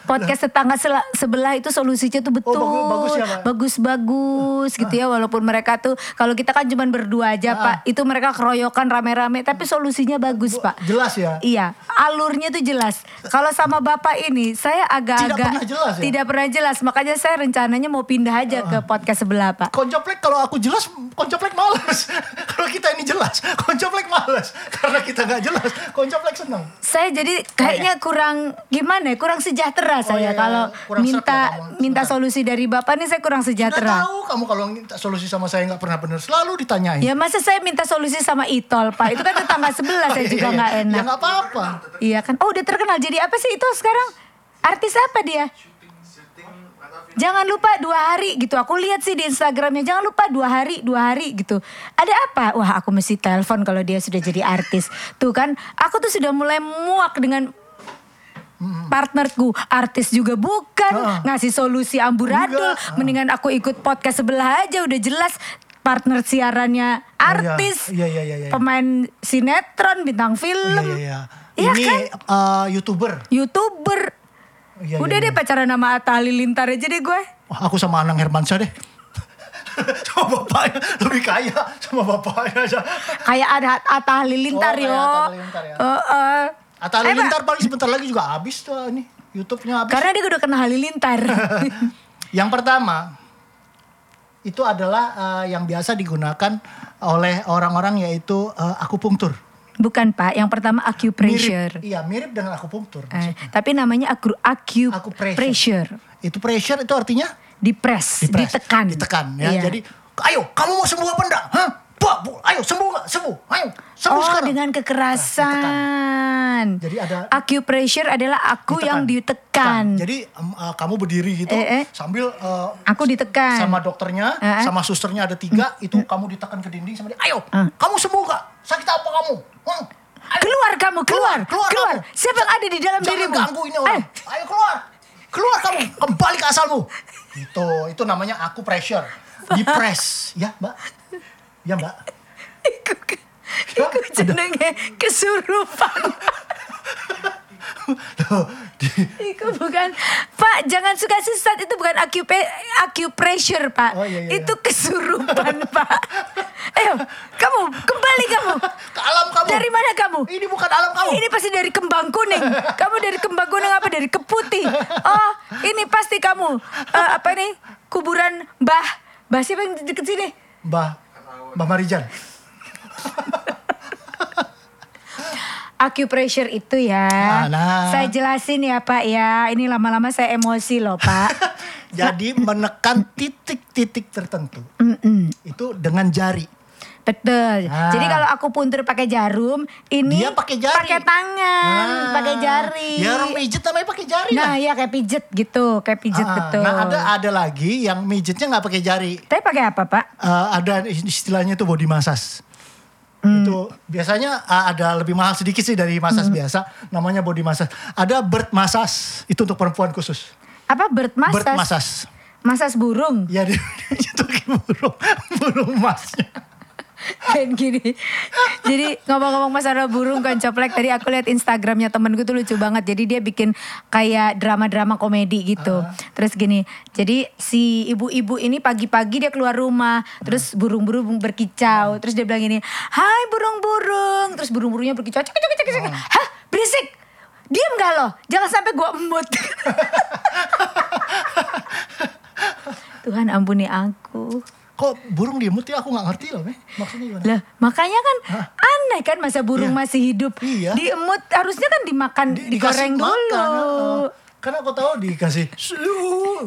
Speaker 1: podcast tetangga sela- sebelah itu solusinya tuh betul
Speaker 2: bagus- bagus ya, Pak?
Speaker 1: bagus-bagus gitu ya walaupun mereka tuh kalau kita kan cuman berdua aja pak itu mereka keroyokan rame-rame tapi solusinya bagus pak
Speaker 2: Jelas ya.
Speaker 1: Iya, alurnya tuh jelas. Kalau sama bapak ini, saya agak-agak
Speaker 2: Tidak pernah jelas ya?
Speaker 1: tidak pernah jelas. Makanya saya rencananya mau pindah aja ke podcast sebelah pak.
Speaker 2: Koncoplek kalau aku jelas, koncoplek males. kalau kita ini jelas, koncoplek males. Karena kita nggak jelas, koncoplek seneng.
Speaker 1: saya jadi kayaknya kurang gimana ya kurang sejahtera saya
Speaker 2: iya, iya.
Speaker 1: kalau
Speaker 2: Kurang serap
Speaker 1: minta
Speaker 2: ya kamu.
Speaker 1: minta solusi dari bapak nih saya kurang
Speaker 2: Nggak
Speaker 1: sejahtera
Speaker 2: tahu kamu kalau minta solusi sama saya nggak pernah benar, selalu ditanyain.
Speaker 1: ya masa saya minta solusi sama Itol pak itu kan tetangga sebelah saya juga nggak
Speaker 2: Ya
Speaker 1: enak
Speaker 2: nggak apa-apa.
Speaker 1: iya kan oh udah terkenal jadi apa sih Itol sekarang artis apa dia Jangan lupa dua hari gitu. Aku lihat sih di Instagramnya. Jangan lupa dua hari, dua hari gitu. Ada apa? Wah, aku mesti telepon kalau dia sudah jadi artis. Tuh kan, aku tuh sudah mulai muak dengan partnerku artis juga bukan
Speaker 2: Heeh.
Speaker 1: ngasih solusi amburadul
Speaker 2: Enggak. Heeh.
Speaker 1: mendingan aku ikut podcast sebelah aja udah jelas partner siarannya artis
Speaker 2: Oh, iya, iya, iya, iya.
Speaker 1: pemain sinetron bintang
Speaker 2: Iya,
Speaker 1: film
Speaker 2: iya, iya.
Speaker 1: Iya
Speaker 2: Ini
Speaker 1: kan?
Speaker 2: eh, youtuber.
Speaker 1: youtuber
Speaker 2: Iya,
Speaker 1: udah deh
Speaker 2: iya,
Speaker 1: pacaran sama Atta Halilintar aja deh gue
Speaker 2: Wah, aku sama Anang Hermansyah deh. sama bapaknya lebih kaya sama bapaknya aja.
Speaker 1: kayak ada Atta Halilintar
Speaker 2: Oh,
Speaker 1: yo
Speaker 2: kayak Atta Halilintar ya.
Speaker 1: Heeh. Eh,
Speaker 2: Atau
Speaker 1: Pak, Kan.
Speaker 2: Halilintar paling sebentar lagi juga habis tuh ah, ini. YouTube-nya habis.
Speaker 1: karena dia udah kena Halilintar
Speaker 2: Yang pertama itu adalah eh, yang biasa digunakan oleh orang-orang yaitu eh, akupunktur.
Speaker 1: bukan pak yang pertama acupressure
Speaker 2: Mirip, iya, mirip dengan akupunktur.
Speaker 1: Eh, tapi namanya acru- acu
Speaker 2: Acupressure.
Speaker 1: acupressure
Speaker 2: Itu pressure itu artinya
Speaker 1: dipres,
Speaker 2: dipres,
Speaker 1: ditekan,
Speaker 2: ditekan ya.
Speaker 1: Iya.
Speaker 2: Jadi, ayo kamu mau sembuh apa enggak? Hah? Buah, bu, ayo sembuh nggak? Sembuh. Ayo, sembuh
Speaker 1: oh
Speaker 2: sekarang. Nah,
Speaker 1: dengan kekerasan.
Speaker 2: Jadi ada-
Speaker 1: acupressure adalah aku yang ditekan.
Speaker 2: Tekan. Gitu kan? Jadi em, eh, kamu berdiri gitu
Speaker 1: Eh, eh.
Speaker 2: sambil eh,
Speaker 1: aku ditekan.
Speaker 2: sama dokternya,
Speaker 1: Eh, Mm, eh.
Speaker 2: sama susternya ada tiga, itu kamu ditekan ke dinding sama dia. Ayo,
Speaker 1: Hmm.
Speaker 2: kamu sembuh nggak? Sakit apa kamu? Hmm.
Speaker 1: keluar kamu, keluar,
Speaker 2: Keluar, keluar kamu.
Speaker 1: Siapa yang ada di dalam
Speaker 2: Jangan
Speaker 1: dirimu?
Speaker 2: ganggu ini orang.
Speaker 1: Eh,
Speaker 2: Ayo keluar. Keluar kamu, kembali ke asalmu. Gitu, itu namanya aku pressure. Dipres, ya mbak? Ya mbak?
Speaker 1: iku, iku jenenge kesurupan.
Speaker 2: Loh, di-
Speaker 1: Iku bukan Pak, jangan suka sesat itu bukan acupe- acupressure, Pak.
Speaker 2: Oh, iya, iya, iya.
Speaker 1: Itu kesurupan, Pak. Ayo, kamu kembali kamu.
Speaker 2: ke alam kamu.
Speaker 1: Dari mana kamu?
Speaker 2: Ini bukan alam kamu.
Speaker 1: Ini pasti dari kembang kuning. Kamu dari kembang kuning apa dari keputih? Oh, ini pasti kamu eh, apa nih? Kuburan Mbah. Mbah siapa yang deket sini?
Speaker 2: Mbak, Mbak Marijan.
Speaker 1: acupressure itu ya.
Speaker 2: Alah.
Speaker 1: Saya jelasin ya Pak ya. Ini lama-lama saya emosi loh Pak.
Speaker 2: Jadi menekan titik-titik tertentu
Speaker 1: Mm-mm.
Speaker 2: itu dengan jari.
Speaker 1: Betul.
Speaker 2: Ah.
Speaker 1: Jadi kalau aku puntur pakai jarum, ini
Speaker 2: Dia pakai jari.
Speaker 1: pakai tangan,
Speaker 2: Nah,
Speaker 1: Ah, pakai jari.
Speaker 2: Ya orang pijet namanya pakai jari lah.
Speaker 1: Nah, ya kayak pijet gitu, kayak pijet
Speaker 2: Ah,
Speaker 1: betul.
Speaker 2: Nah ada ada lagi yang mijetnya nggak pakai jari.
Speaker 1: Tapi pakai apa, Pak?
Speaker 2: Eh, ada istilahnya itu body massage.
Speaker 1: Hmm.
Speaker 2: Itu biasanya ah, ada lebih mahal sedikit sih dari massage biasa. Namanya body massage. Ada bird massage itu untuk perempuan khusus.
Speaker 1: Apa bird massage?
Speaker 2: Bird massage.
Speaker 1: Massage burung.
Speaker 2: Ya dia itu burung burung masnya.
Speaker 1: Kayak gini. Jadi ngomong-ngomong masalah burung kan coplek tadi aku lihat Instagramnya temen gue tuh lucu banget. Jadi dia bikin kayak drama-drama komedi gitu. Terus gini. Jadi si ibu-ibu ini pagi-pagi dia keluar rumah, terus burung-burung berkicau. Terus dia bilang gini, "Hai burung-burung." Terus burung-burungnya berkicau. Cek, cek, cek, cek. Hah, berisik. Diam gak lo? Jangan sampai gua embut. Tuhan ampuni aku.
Speaker 2: Kok burung diemut ya aku nggak ngerti loh, Meh. Maksudnya gimana?
Speaker 1: Lah, makanya kan
Speaker 2: Hah?
Speaker 1: aneh kan masa burung
Speaker 2: Iya.
Speaker 1: masih hidup.
Speaker 2: Iya.
Speaker 1: Diemut harusnya kan dimakan
Speaker 2: Di-
Speaker 1: digoreng
Speaker 2: dikasih
Speaker 1: dulu.
Speaker 2: makan, heeh. Karena aku tahu dikasih. "Suh."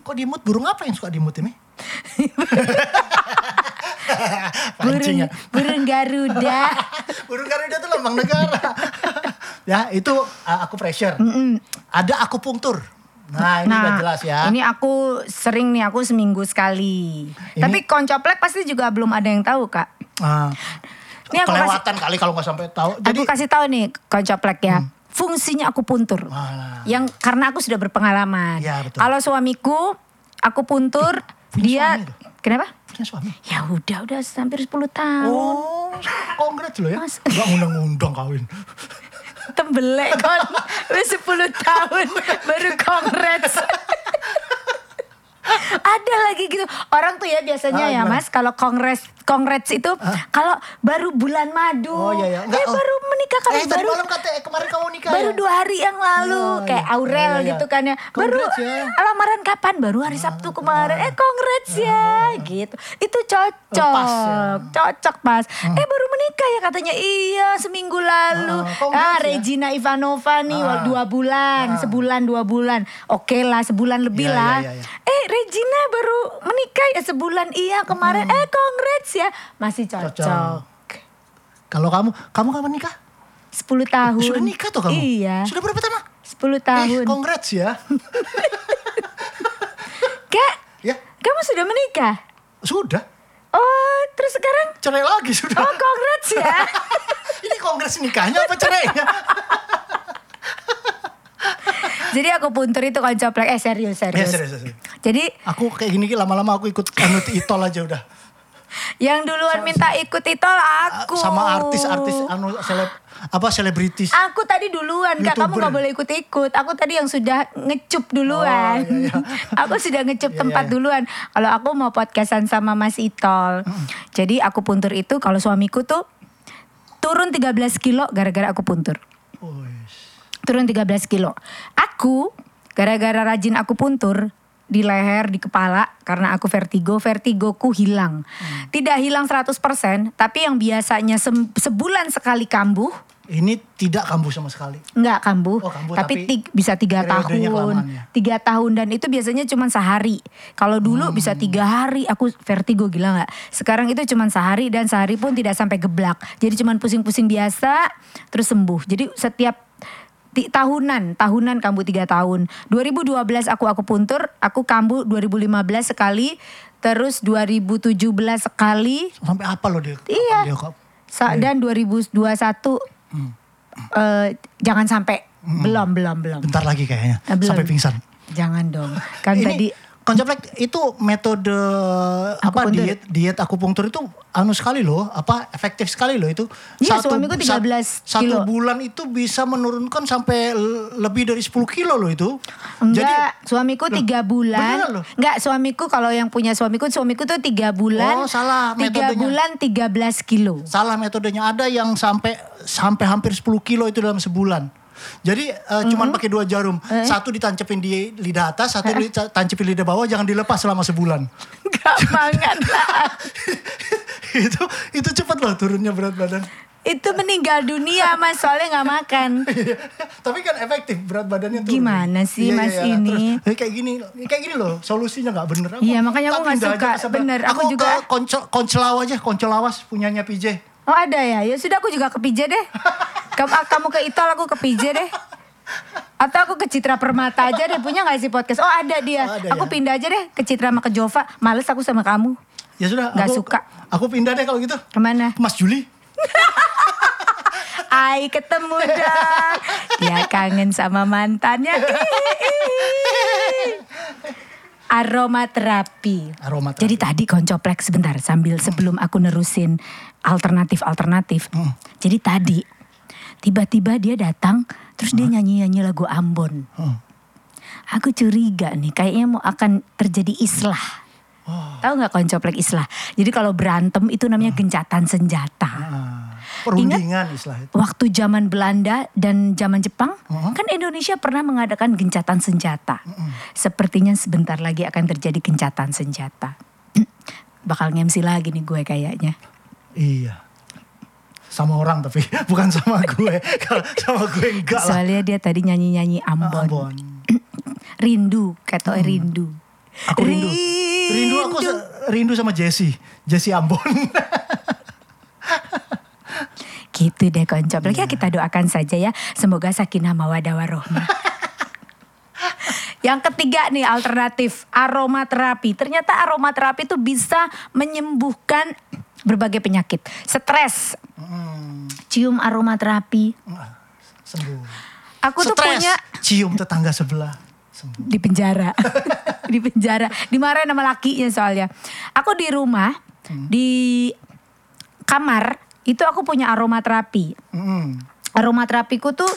Speaker 2: Kok diemut burung apa yang suka diemut ini?
Speaker 1: burung
Speaker 2: Pancing ya.
Speaker 1: burung Garuda.
Speaker 2: Burung Garuda itu lambang negara. ya, itu uh, aku pressure. Ada akupunktur. Nah, ini udah jelas ya.
Speaker 1: ini aku sering nih aku seminggu sekali.
Speaker 2: Ini-
Speaker 1: Tapi koncoplek pasti juga belum ada yang tahu, Kak.
Speaker 2: Ah.
Speaker 1: Ini aku
Speaker 2: kelewatan kali kalau nggak sampai tahu. Jadi Hmm.
Speaker 1: aku kasih tahu nih koncoplek ya. Fungsinya aku puntur.
Speaker 2: Wah.
Speaker 1: Yang karena aku sudah berpengalaman.
Speaker 2: Iya, betul.
Speaker 1: Kalau suamiku aku puntur, dia
Speaker 2: suami
Speaker 1: kenapa?
Speaker 2: punya suami.
Speaker 1: Ya udah udah hampir 10 tahun.
Speaker 2: Oh, kongres lo ya.
Speaker 1: Mas-
Speaker 2: Gak undang-undang kawin.
Speaker 1: tembelek kon lu 10 tahun baru congrats ada lagi gitu orang tuh ya biasanya
Speaker 2: Ah,
Speaker 1: ya
Speaker 2: gimana? Ah.
Speaker 1: mas kalau kongres kongres itu kalau baru bulan madu
Speaker 2: Oh iya ya.
Speaker 1: eh, baru menikah kan
Speaker 2: eh, tadi
Speaker 1: baru
Speaker 2: malam kata eh, kemarin kamu nikah.
Speaker 1: baru
Speaker 2: ya?
Speaker 1: dua hari yang lalu
Speaker 2: Iya,
Speaker 1: kayak
Speaker 2: iya.
Speaker 1: Aurel
Speaker 2: Iya, iya.
Speaker 1: gitu kan ya baru
Speaker 2: Congrats ya.
Speaker 1: eh, lamaran kapan baru hari Sabtu kemarin eh congrats ya gitu itu cocok
Speaker 2: Lepas ya. Hmm.
Speaker 1: cocok pas eh baru menikah ya katanya iya seminggu lalu
Speaker 2: Ah, congrats
Speaker 1: ah
Speaker 2: ya.
Speaker 1: Regina Ivanova nih wah,
Speaker 2: Ah.
Speaker 1: dua bulan sebulan dua bulan oke lah sebulan lebih
Speaker 2: Iya,
Speaker 1: lah
Speaker 2: iya, iya, iya.
Speaker 1: eh Regina baru menikah ya sebulan iya kemarin eh congrats ya masih cocok,
Speaker 2: Hmm. Cocok. Kalau kamu, kamu kapan nikah?
Speaker 1: 10 tahun.
Speaker 2: Sudah nikah tuh kamu?
Speaker 1: Iya.
Speaker 2: Sudah berapa lama?
Speaker 1: 10 tahun.
Speaker 2: Eh, congrats ya.
Speaker 1: Kak,
Speaker 2: ya,
Speaker 1: kamu sudah menikah?
Speaker 2: sudah.
Speaker 1: Oh, terus sekarang?
Speaker 2: Cerai lagi
Speaker 1: Oh,
Speaker 2: sudah.
Speaker 1: congrats ya.
Speaker 2: Ini kongres nikahnya apa cerainya?
Speaker 1: Jadi aku puntur itu koncoplek. Eh, serius, serius.
Speaker 2: Ya, serius, serius.
Speaker 1: Jadi
Speaker 2: Aku kayak gini lama-lama aku ikut anut itol aja udah.
Speaker 1: yang duluan minta ikut itol aku.
Speaker 2: Ah, Sama artis-artis anu seleb apa selebritis.
Speaker 1: Aku tadi duluan kak, kamu
Speaker 2: Youtuber.
Speaker 1: nggak boleh ikut-ikut. Aku tadi yang sudah ngecup duluan.
Speaker 2: Oh, iya, iya.
Speaker 1: aku sudah ngecup
Speaker 2: Iya,
Speaker 1: tempat
Speaker 2: iya.
Speaker 1: duluan. Kalau aku mau podcastan sama Mas Itol,
Speaker 2: Hmm.
Speaker 1: jadi aku puntur itu kalau suamiku tuh turun 13 kilo gara-gara aku puntur.
Speaker 2: Wih.
Speaker 1: turun 13 kilo. Aku gara-gara rajin aku puntur di leher, di kepala karena aku vertigo, vertigoku hilang. Tidak hilang 100%, tapi yang biasanya sem- sebulan sekali kambuh,
Speaker 2: Ini tidak kambuh sama sekali.
Speaker 1: enggak kambuh,
Speaker 2: Oh, kambuh,
Speaker 1: tapi,
Speaker 2: tapi
Speaker 1: ti- bisa tiga
Speaker 2: periodenya
Speaker 1: tahun.
Speaker 2: kelamaannya.
Speaker 1: Tiga tahun dan itu biasanya cuma sehari. Kalau dulu
Speaker 2: Hmm.
Speaker 1: bisa tiga hari, aku vertigo gila nggak? Sekarang itu cuma sehari dan sehari pun tidak sampai geblak. Jadi cuma pusing-pusing biasa, terus sembuh. Jadi setiap ti- tahunan, tahunan kambuh tiga tahun. 2012 aku aku puntur, aku kambuh 2015 sekali, terus 2017 sekali,
Speaker 2: Sampai apa loh dia?
Speaker 1: Iya.
Speaker 2: Dia kok- Hmm.
Speaker 1: Sa-
Speaker 2: Iya.
Speaker 1: dan 2021 eh, jangan sampai belum belum belum.
Speaker 2: Bentar lagi kayaknya.
Speaker 1: Eh, belum.
Speaker 2: Sampai pingsan.
Speaker 1: Jangan dong. Kan
Speaker 2: ini
Speaker 1: tadi
Speaker 2: koncoplek itu metode apa
Speaker 1: Akupunktur.
Speaker 2: diet diet akupunktur itu anu sekali loh apa efektif sekali loh itu
Speaker 1: Iya, suamiku 13
Speaker 2: sa-
Speaker 1: kilo.
Speaker 2: satu bulan itu bisa menurunkan sampai l- lebih dari 10 kilo loh itu
Speaker 1: enggak suamiku tiga bulan.
Speaker 2: beneran loh.
Speaker 1: Enggak suamiku kalau yang punya suamiku suamiku tuh tiga bulan.
Speaker 2: Oh, salah
Speaker 1: Tiga
Speaker 2: metodenya.
Speaker 1: bulan 13 kilo.
Speaker 2: salah metodenya ada yang sampai sampai hampir 10 kilo itu dalam sebulan jadi eh, cuman pakai dua jarum
Speaker 1: Eh.
Speaker 2: satu ditancepin di lidah atas satu ditancepin lidah bawah jangan dilepas selama sebulan
Speaker 1: Enggak banget lah.
Speaker 2: itu itu cepat loh turunnya berat badan
Speaker 1: itu meninggal dunia mas soalnya nggak makan.
Speaker 2: Tapi kan efektif berat badannya Iya, tuh.
Speaker 1: Gimana sih, Mas, ini?
Speaker 2: "Eh, kayak gini, kayak gini loh, solusinya nggak bener. Aku-
Speaker 1: Iya, makanya aku
Speaker 2: tapi
Speaker 1: nggak
Speaker 2: pindah aja
Speaker 1: suka.
Speaker 2: ke sebelah.
Speaker 1: Bener, aku
Speaker 2: aku
Speaker 1: juga-
Speaker 2: ke Koncel- koncelaw aja, koncelawas punyanya PJ.
Speaker 1: Oh ada ya, ya sudah aku juga ke PJ deh. Kamu, ah, kamu ke Itol, aku ke PJ deh. Atau aku ke Citra Permata aja deh, punya gak sih podcast? Oh ada dia,
Speaker 2: Oh, ada
Speaker 1: aku
Speaker 2: ya.
Speaker 1: pindah aja deh ke Citra sama ke Jova. Males aku sama kamu.
Speaker 2: Ya sudah,
Speaker 1: Nggak
Speaker 2: aku,
Speaker 1: suka.
Speaker 2: Aku pindah deh kalau gitu.
Speaker 1: Kemana?
Speaker 2: Mas Juli.
Speaker 1: Ai ketemu dah. Dia kangen sama mantannya. Aromaterapi.
Speaker 2: Aromaterapi.
Speaker 1: Jadi tadi koncoplek sebentar sambil sebelum aku nerusin alternatif-alternatif. Jadi tadi tiba-tiba dia datang terus dia nyanyi-nyanyi lagu Ambon.
Speaker 2: Hmm.
Speaker 1: Aku curiga nih kayaknya mau akan terjadi islah. Tahu nggak koncoplek islah? Jadi kalau berantem itu namanya gencatan senjata.
Speaker 2: Ah, perundingan istilah itu.
Speaker 1: Waktu zaman Belanda dan zaman Jepang,
Speaker 2: Uh-huh.
Speaker 1: kan Indonesia pernah mengadakan gencatan senjata. Sepertinya sebentar lagi akan terjadi gencatan senjata. Bakal ngemsi lagi nih gue kayaknya.
Speaker 2: Iya. Sama orang tapi bukan sama gue. Kalau sama gue enggak lah.
Speaker 1: Soalnya dia tadi nyanyi-nyanyi Ambon.
Speaker 2: Ambon.
Speaker 1: Rindu, kata rindu.
Speaker 2: Aku rindu. Rindu aku se- rindu sama Jesse. Jesse Ambon.
Speaker 1: Gitu deh koncoplek. Ya kita doakan saja ya. Semoga sakinah mawadah warohmah. Yang ketiga nih alternatif aromaterapi. Ternyata aromaterapi itu bisa menyembuhkan berbagai penyakit. Stres,
Speaker 2: Hmm.
Speaker 1: cium aromaterapi.
Speaker 2: Sembuh.
Speaker 1: Aku tuh
Speaker 2: Stres,
Speaker 1: punya
Speaker 2: cium tetangga sebelah. Sembuh.
Speaker 1: di penjara. di penjara, dimarahin sama lakinya soalnya. Aku di rumah, di kamar itu aku punya aromaterapi.
Speaker 2: Mm-mm.
Speaker 1: aromaterapiku tuh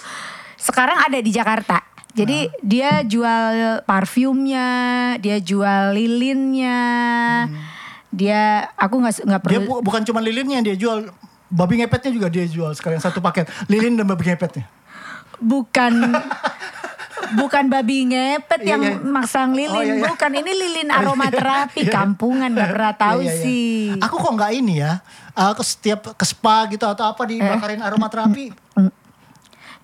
Speaker 1: sekarang ada di Jakarta. Jadi
Speaker 2: Nah.
Speaker 1: dia jual parfumnya, dia jual lilinnya, dia aku nggak nggak
Speaker 2: Hmm. Dia
Speaker 1: perlu.
Speaker 2: bu- bukan cuma lilinnya yang dia jual, babi ngepetnya juga dia jual sekalian satu paket. Lilin dan babi ngepetnya.
Speaker 1: bukan bukan babi ngepet
Speaker 2: Iya,
Speaker 1: yang
Speaker 2: iya.
Speaker 1: maksang lilin
Speaker 2: Oh, iya, iya.
Speaker 1: bukan ini lilin aromaterapi kampungan nggak pernah tahu
Speaker 2: Iya, iya, iya.
Speaker 1: sih
Speaker 2: Aku kok nggak ini ya. Aku setiap ke spa gitu atau apa
Speaker 1: Eh.
Speaker 2: dibakarin aromaterapi.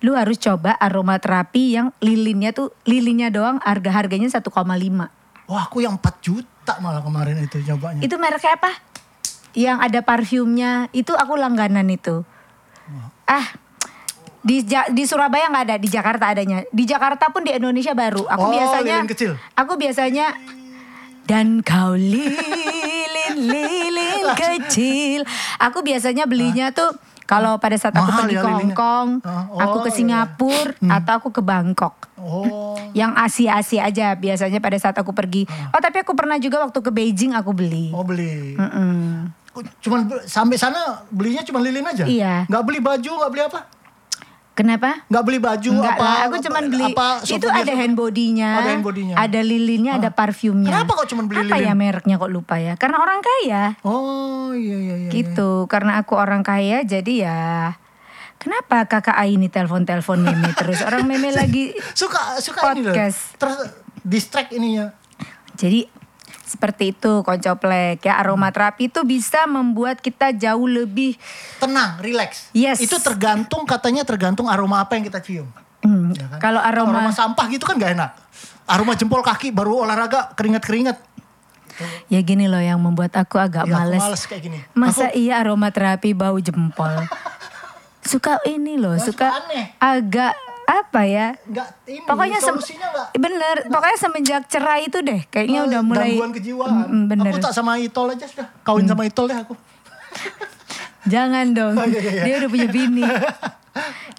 Speaker 1: lu harus coba aromaterapi yang lilinnya tuh lilinnya doang harga harganya 1,5
Speaker 2: Wah, aku yang 4 juta malah kemarin itu nyobanya.
Speaker 1: itu mereknya apa yang ada parfumnya itu aku langganan itu ah di Ja- di Surabaya nggak ada di Jakarta adanya di Jakarta pun di Indonesia baru aku
Speaker 2: Oh,
Speaker 1: biasanya
Speaker 2: lilin kecil.
Speaker 1: aku biasanya dan kau lilin lilin kecil aku biasanya belinya tuh kalau pada saat aku
Speaker 2: Mahal
Speaker 1: pergi
Speaker 2: ya
Speaker 1: ke Hong
Speaker 2: lilinnya.
Speaker 1: Kong
Speaker 2: Ah, oh,
Speaker 1: aku ke
Speaker 2: iya.
Speaker 1: Singapura atau aku ke Bangkok
Speaker 2: Oh.
Speaker 1: yang Asia-Asia aja biasanya pada saat aku pergi.
Speaker 2: Ah.
Speaker 1: Oh tapi aku pernah juga waktu ke Beijing aku beli.
Speaker 2: Oh beli.
Speaker 1: Mm.
Speaker 2: Kok Cuman be- sampai sana belinya cuma lilin aja.
Speaker 1: Iya.
Speaker 2: Nggak beli baju, nggak beli apa?
Speaker 1: Kenapa?
Speaker 2: Nggak beli baju
Speaker 1: Enggak
Speaker 2: apa?
Speaker 1: lah, aku
Speaker 2: apa-
Speaker 1: cuman beli
Speaker 2: apa,
Speaker 1: itu
Speaker 2: souvenir-
Speaker 1: ada hand bodinya,
Speaker 2: Oh, ada hand body-nya. Ah.
Speaker 1: ada lilinnya, ada parfumnya.
Speaker 2: Kenapa kok cuman beli
Speaker 1: Apa
Speaker 2: lilin?
Speaker 1: ya mereknya kok lupa ya? Karena orang kaya,
Speaker 2: Oh iya iya iya. iya.
Speaker 1: gitu. Karena aku orang kaya, jadi ya. Kenapa kakak A ini telepon-telepon meme terus orang meme lagi?
Speaker 2: Suka suka ini loh.
Speaker 1: Podcast.
Speaker 2: Terus distract ininya.
Speaker 1: Jadi seperti itu koncoplek ya aromaterapi itu bisa membuat kita jauh lebih
Speaker 2: Tenang, relax.
Speaker 1: Yes.
Speaker 2: Itu tergantung katanya tergantung aroma apa yang kita cium.
Speaker 1: Hmm,
Speaker 2: Ya kan?
Speaker 1: Kalau aroma,
Speaker 2: sampah gitu kan nggak enak. Aroma jempol kaki baru olahraga keringat-keringat.
Speaker 1: ya gini loh yang membuat aku agak
Speaker 2: Ya, aku
Speaker 1: males.
Speaker 2: males kayak gini.
Speaker 1: Masa iya aromaterapi bau jempol? suka ini loh, suka,
Speaker 2: suka aneh.
Speaker 1: agak apa ya?
Speaker 2: Nggak ini
Speaker 1: Pokoknya sem-
Speaker 2: solusinya nggak Oh,
Speaker 1: bener, pokoknya semenjak cerai itu deh, kayaknya udah mulai
Speaker 2: gangguan kejiwaan.
Speaker 1: Mm-mm, bener.
Speaker 2: Aku tak sama Itol aja sudah. Kawin sama Itol deh aku.
Speaker 1: Jangan dong,
Speaker 2: Oh, iya, iya, iya.
Speaker 1: dia udah punya bini.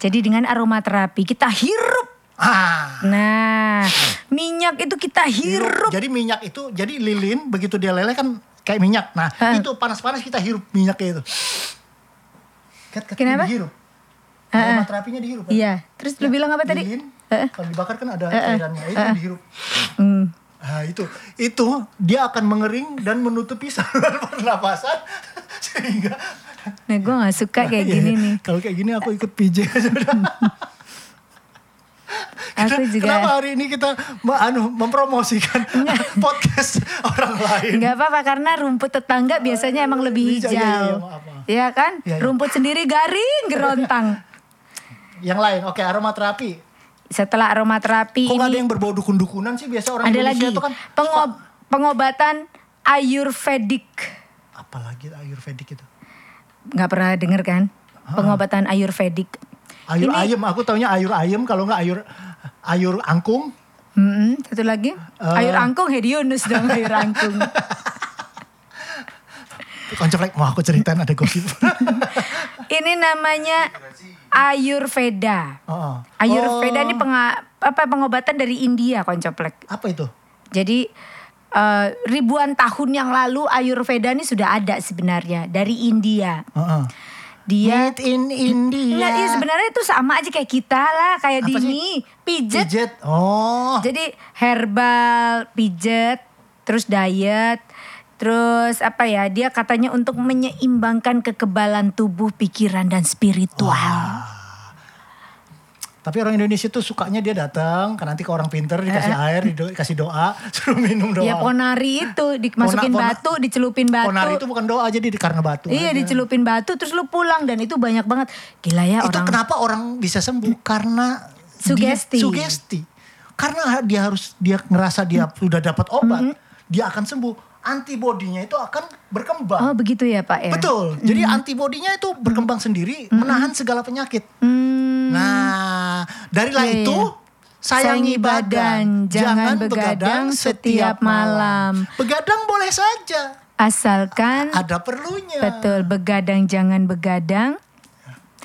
Speaker 1: Jadi dengan aromaterapi kita hirup.
Speaker 2: Ah.
Speaker 1: Nah, minyak itu kita hirup.
Speaker 2: Jadi minyak itu jadi lilin begitu dia leleh kan kayak minyak. Nah,
Speaker 1: Hah.
Speaker 2: itu panas-panas kita hirup minyaknya itu. Kat, kat,
Speaker 1: Kenapa?
Speaker 2: Dihirup.
Speaker 1: Ah, ah.
Speaker 2: Aromaterapinya dihirup. kan?
Speaker 1: Iya, terus lu bilang apa tadi?
Speaker 2: Lilin,
Speaker 1: Eh,
Speaker 2: kalau dibakar kan ada
Speaker 1: eh,
Speaker 2: cairannya, itu
Speaker 1: eh.
Speaker 2: dihirup.
Speaker 1: hmm.
Speaker 2: Nah, itu itu dia akan mengering dan menutupi saluran pernapasan sehingga
Speaker 1: Nah gue gak suka kayak
Speaker 2: Iya,
Speaker 1: gini
Speaker 2: iya.
Speaker 1: nih
Speaker 2: Kalau kayak gini aku ikut PJ aja udah.
Speaker 1: Aku juga. Iya.
Speaker 2: Kenapa hari ini kita me- anu, mempromosikan podcast orang lain?
Speaker 1: Enggak apa-apa karena rumput tetangga biasanya emang lebih
Speaker 2: Hijau,
Speaker 1: hijau.
Speaker 2: iya, iya,
Speaker 1: Iya
Speaker 2: maaf, maaf.
Speaker 1: kan?
Speaker 2: Iya, iya.
Speaker 1: Rumput sendiri garing gerontang.
Speaker 2: Yang lain, oke aromaterapi.
Speaker 1: Setelah aromaterapi
Speaker 2: Kok nggak ada
Speaker 1: ini
Speaker 2: yang berbau dukun-dukunan sih? Biasa orang
Speaker 1: ada
Speaker 2: Indonesia
Speaker 1: lagi
Speaker 2: itu kan.
Speaker 1: pengob- pengobatan ayurvedic.
Speaker 2: Apalagi ayurvedik itu.
Speaker 1: Nggak pernah denger kan?
Speaker 2: Ah.
Speaker 1: Pengobatan ayurvedic.
Speaker 2: Ayur
Speaker 1: Ini-
Speaker 2: ayam, aku taunya ayur ayam kalau nggak ayur ayur angkung.
Speaker 1: Mm-mm, satu lagi
Speaker 2: Eh.
Speaker 1: ayur angkung Hedionus dong ayur angkung.
Speaker 2: Koncoplek mau aku ceritain ada gosip.
Speaker 1: ini namanya ayurveda.
Speaker 2: Oh.
Speaker 1: Ayurveda
Speaker 2: Oh,
Speaker 1: ini penga- apa pengobatan dari India koncoplek.
Speaker 2: apa itu?
Speaker 1: Jadi eh, ribuan tahun yang lalu Ayurveda ini sudah ada sebenarnya dari India.
Speaker 2: Heeh.
Speaker 1: Dia
Speaker 2: Made in India.
Speaker 1: Nggak, iya, sebenarnya itu sama aja kayak kita lah, kayak
Speaker 2: Apa
Speaker 1: di
Speaker 2: sih?
Speaker 1: ini pijet.
Speaker 2: Pijet. Oh.
Speaker 1: Jadi herbal, pijet, terus diet, terus apa ya? Dia katanya untuk menyeimbangkan kekebalan tubuh, pikiran dan spiritual.
Speaker 2: Tapi orang Indonesia tuh sukanya dia datang, kan nanti ke orang pinter dikasih air, dido- dikasih doa, suruh minum doa.
Speaker 1: Ya ponari itu dimasukin
Speaker 2: Pona- pona-
Speaker 1: batu, dicelupin batu.
Speaker 2: Ponari itu bukan doa jadi di- karena batu.
Speaker 1: Iya
Speaker 2: aja.
Speaker 1: dicelupin batu terus lu pulang dan itu banyak banget. Gila ya
Speaker 2: Itu
Speaker 1: orang.
Speaker 2: kenapa orang bisa sembuh karena
Speaker 1: Sugesti.
Speaker 2: Dia, sugesti. Karena dia harus dia ngerasa dia
Speaker 1: Mm.
Speaker 2: sudah dapat obat,
Speaker 1: Mm-hmm.
Speaker 2: dia akan sembuh. Antibodinya itu akan
Speaker 1: Oh
Speaker 2: berkembang.
Speaker 1: begitu ya Pak ya.
Speaker 2: Betul. Jadi antibodinya itu berkembang sendiri,
Speaker 1: Mm-hmm.
Speaker 2: menahan segala penyakit.
Speaker 1: Hmm,
Speaker 2: Nah, darilah
Speaker 1: Iya,
Speaker 2: itu
Speaker 1: iya.
Speaker 2: sayangi
Speaker 1: Sayangi
Speaker 2: badan,
Speaker 1: badan, jangan begadang setiap malam.
Speaker 2: Begadang boleh saja,
Speaker 1: asalkan
Speaker 2: ada perlunya.
Speaker 1: betul begadang jangan begadang,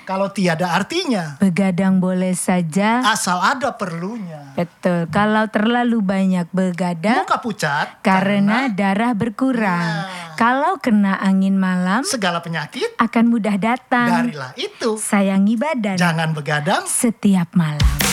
Speaker 2: Kalau tiada artinya,
Speaker 1: begadang boleh saja.
Speaker 2: asal ada perlunya.
Speaker 1: Betul. Kalau terlalu banyak begadang
Speaker 2: Muka pucat
Speaker 1: karena, darah berkurang.
Speaker 2: Iya.
Speaker 1: Kalau kena angin malam
Speaker 2: segala penyakit
Speaker 1: akan mudah datang.
Speaker 2: darilah itu
Speaker 1: Sayangi badan
Speaker 2: jangan begadang
Speaker 1: setiap malam.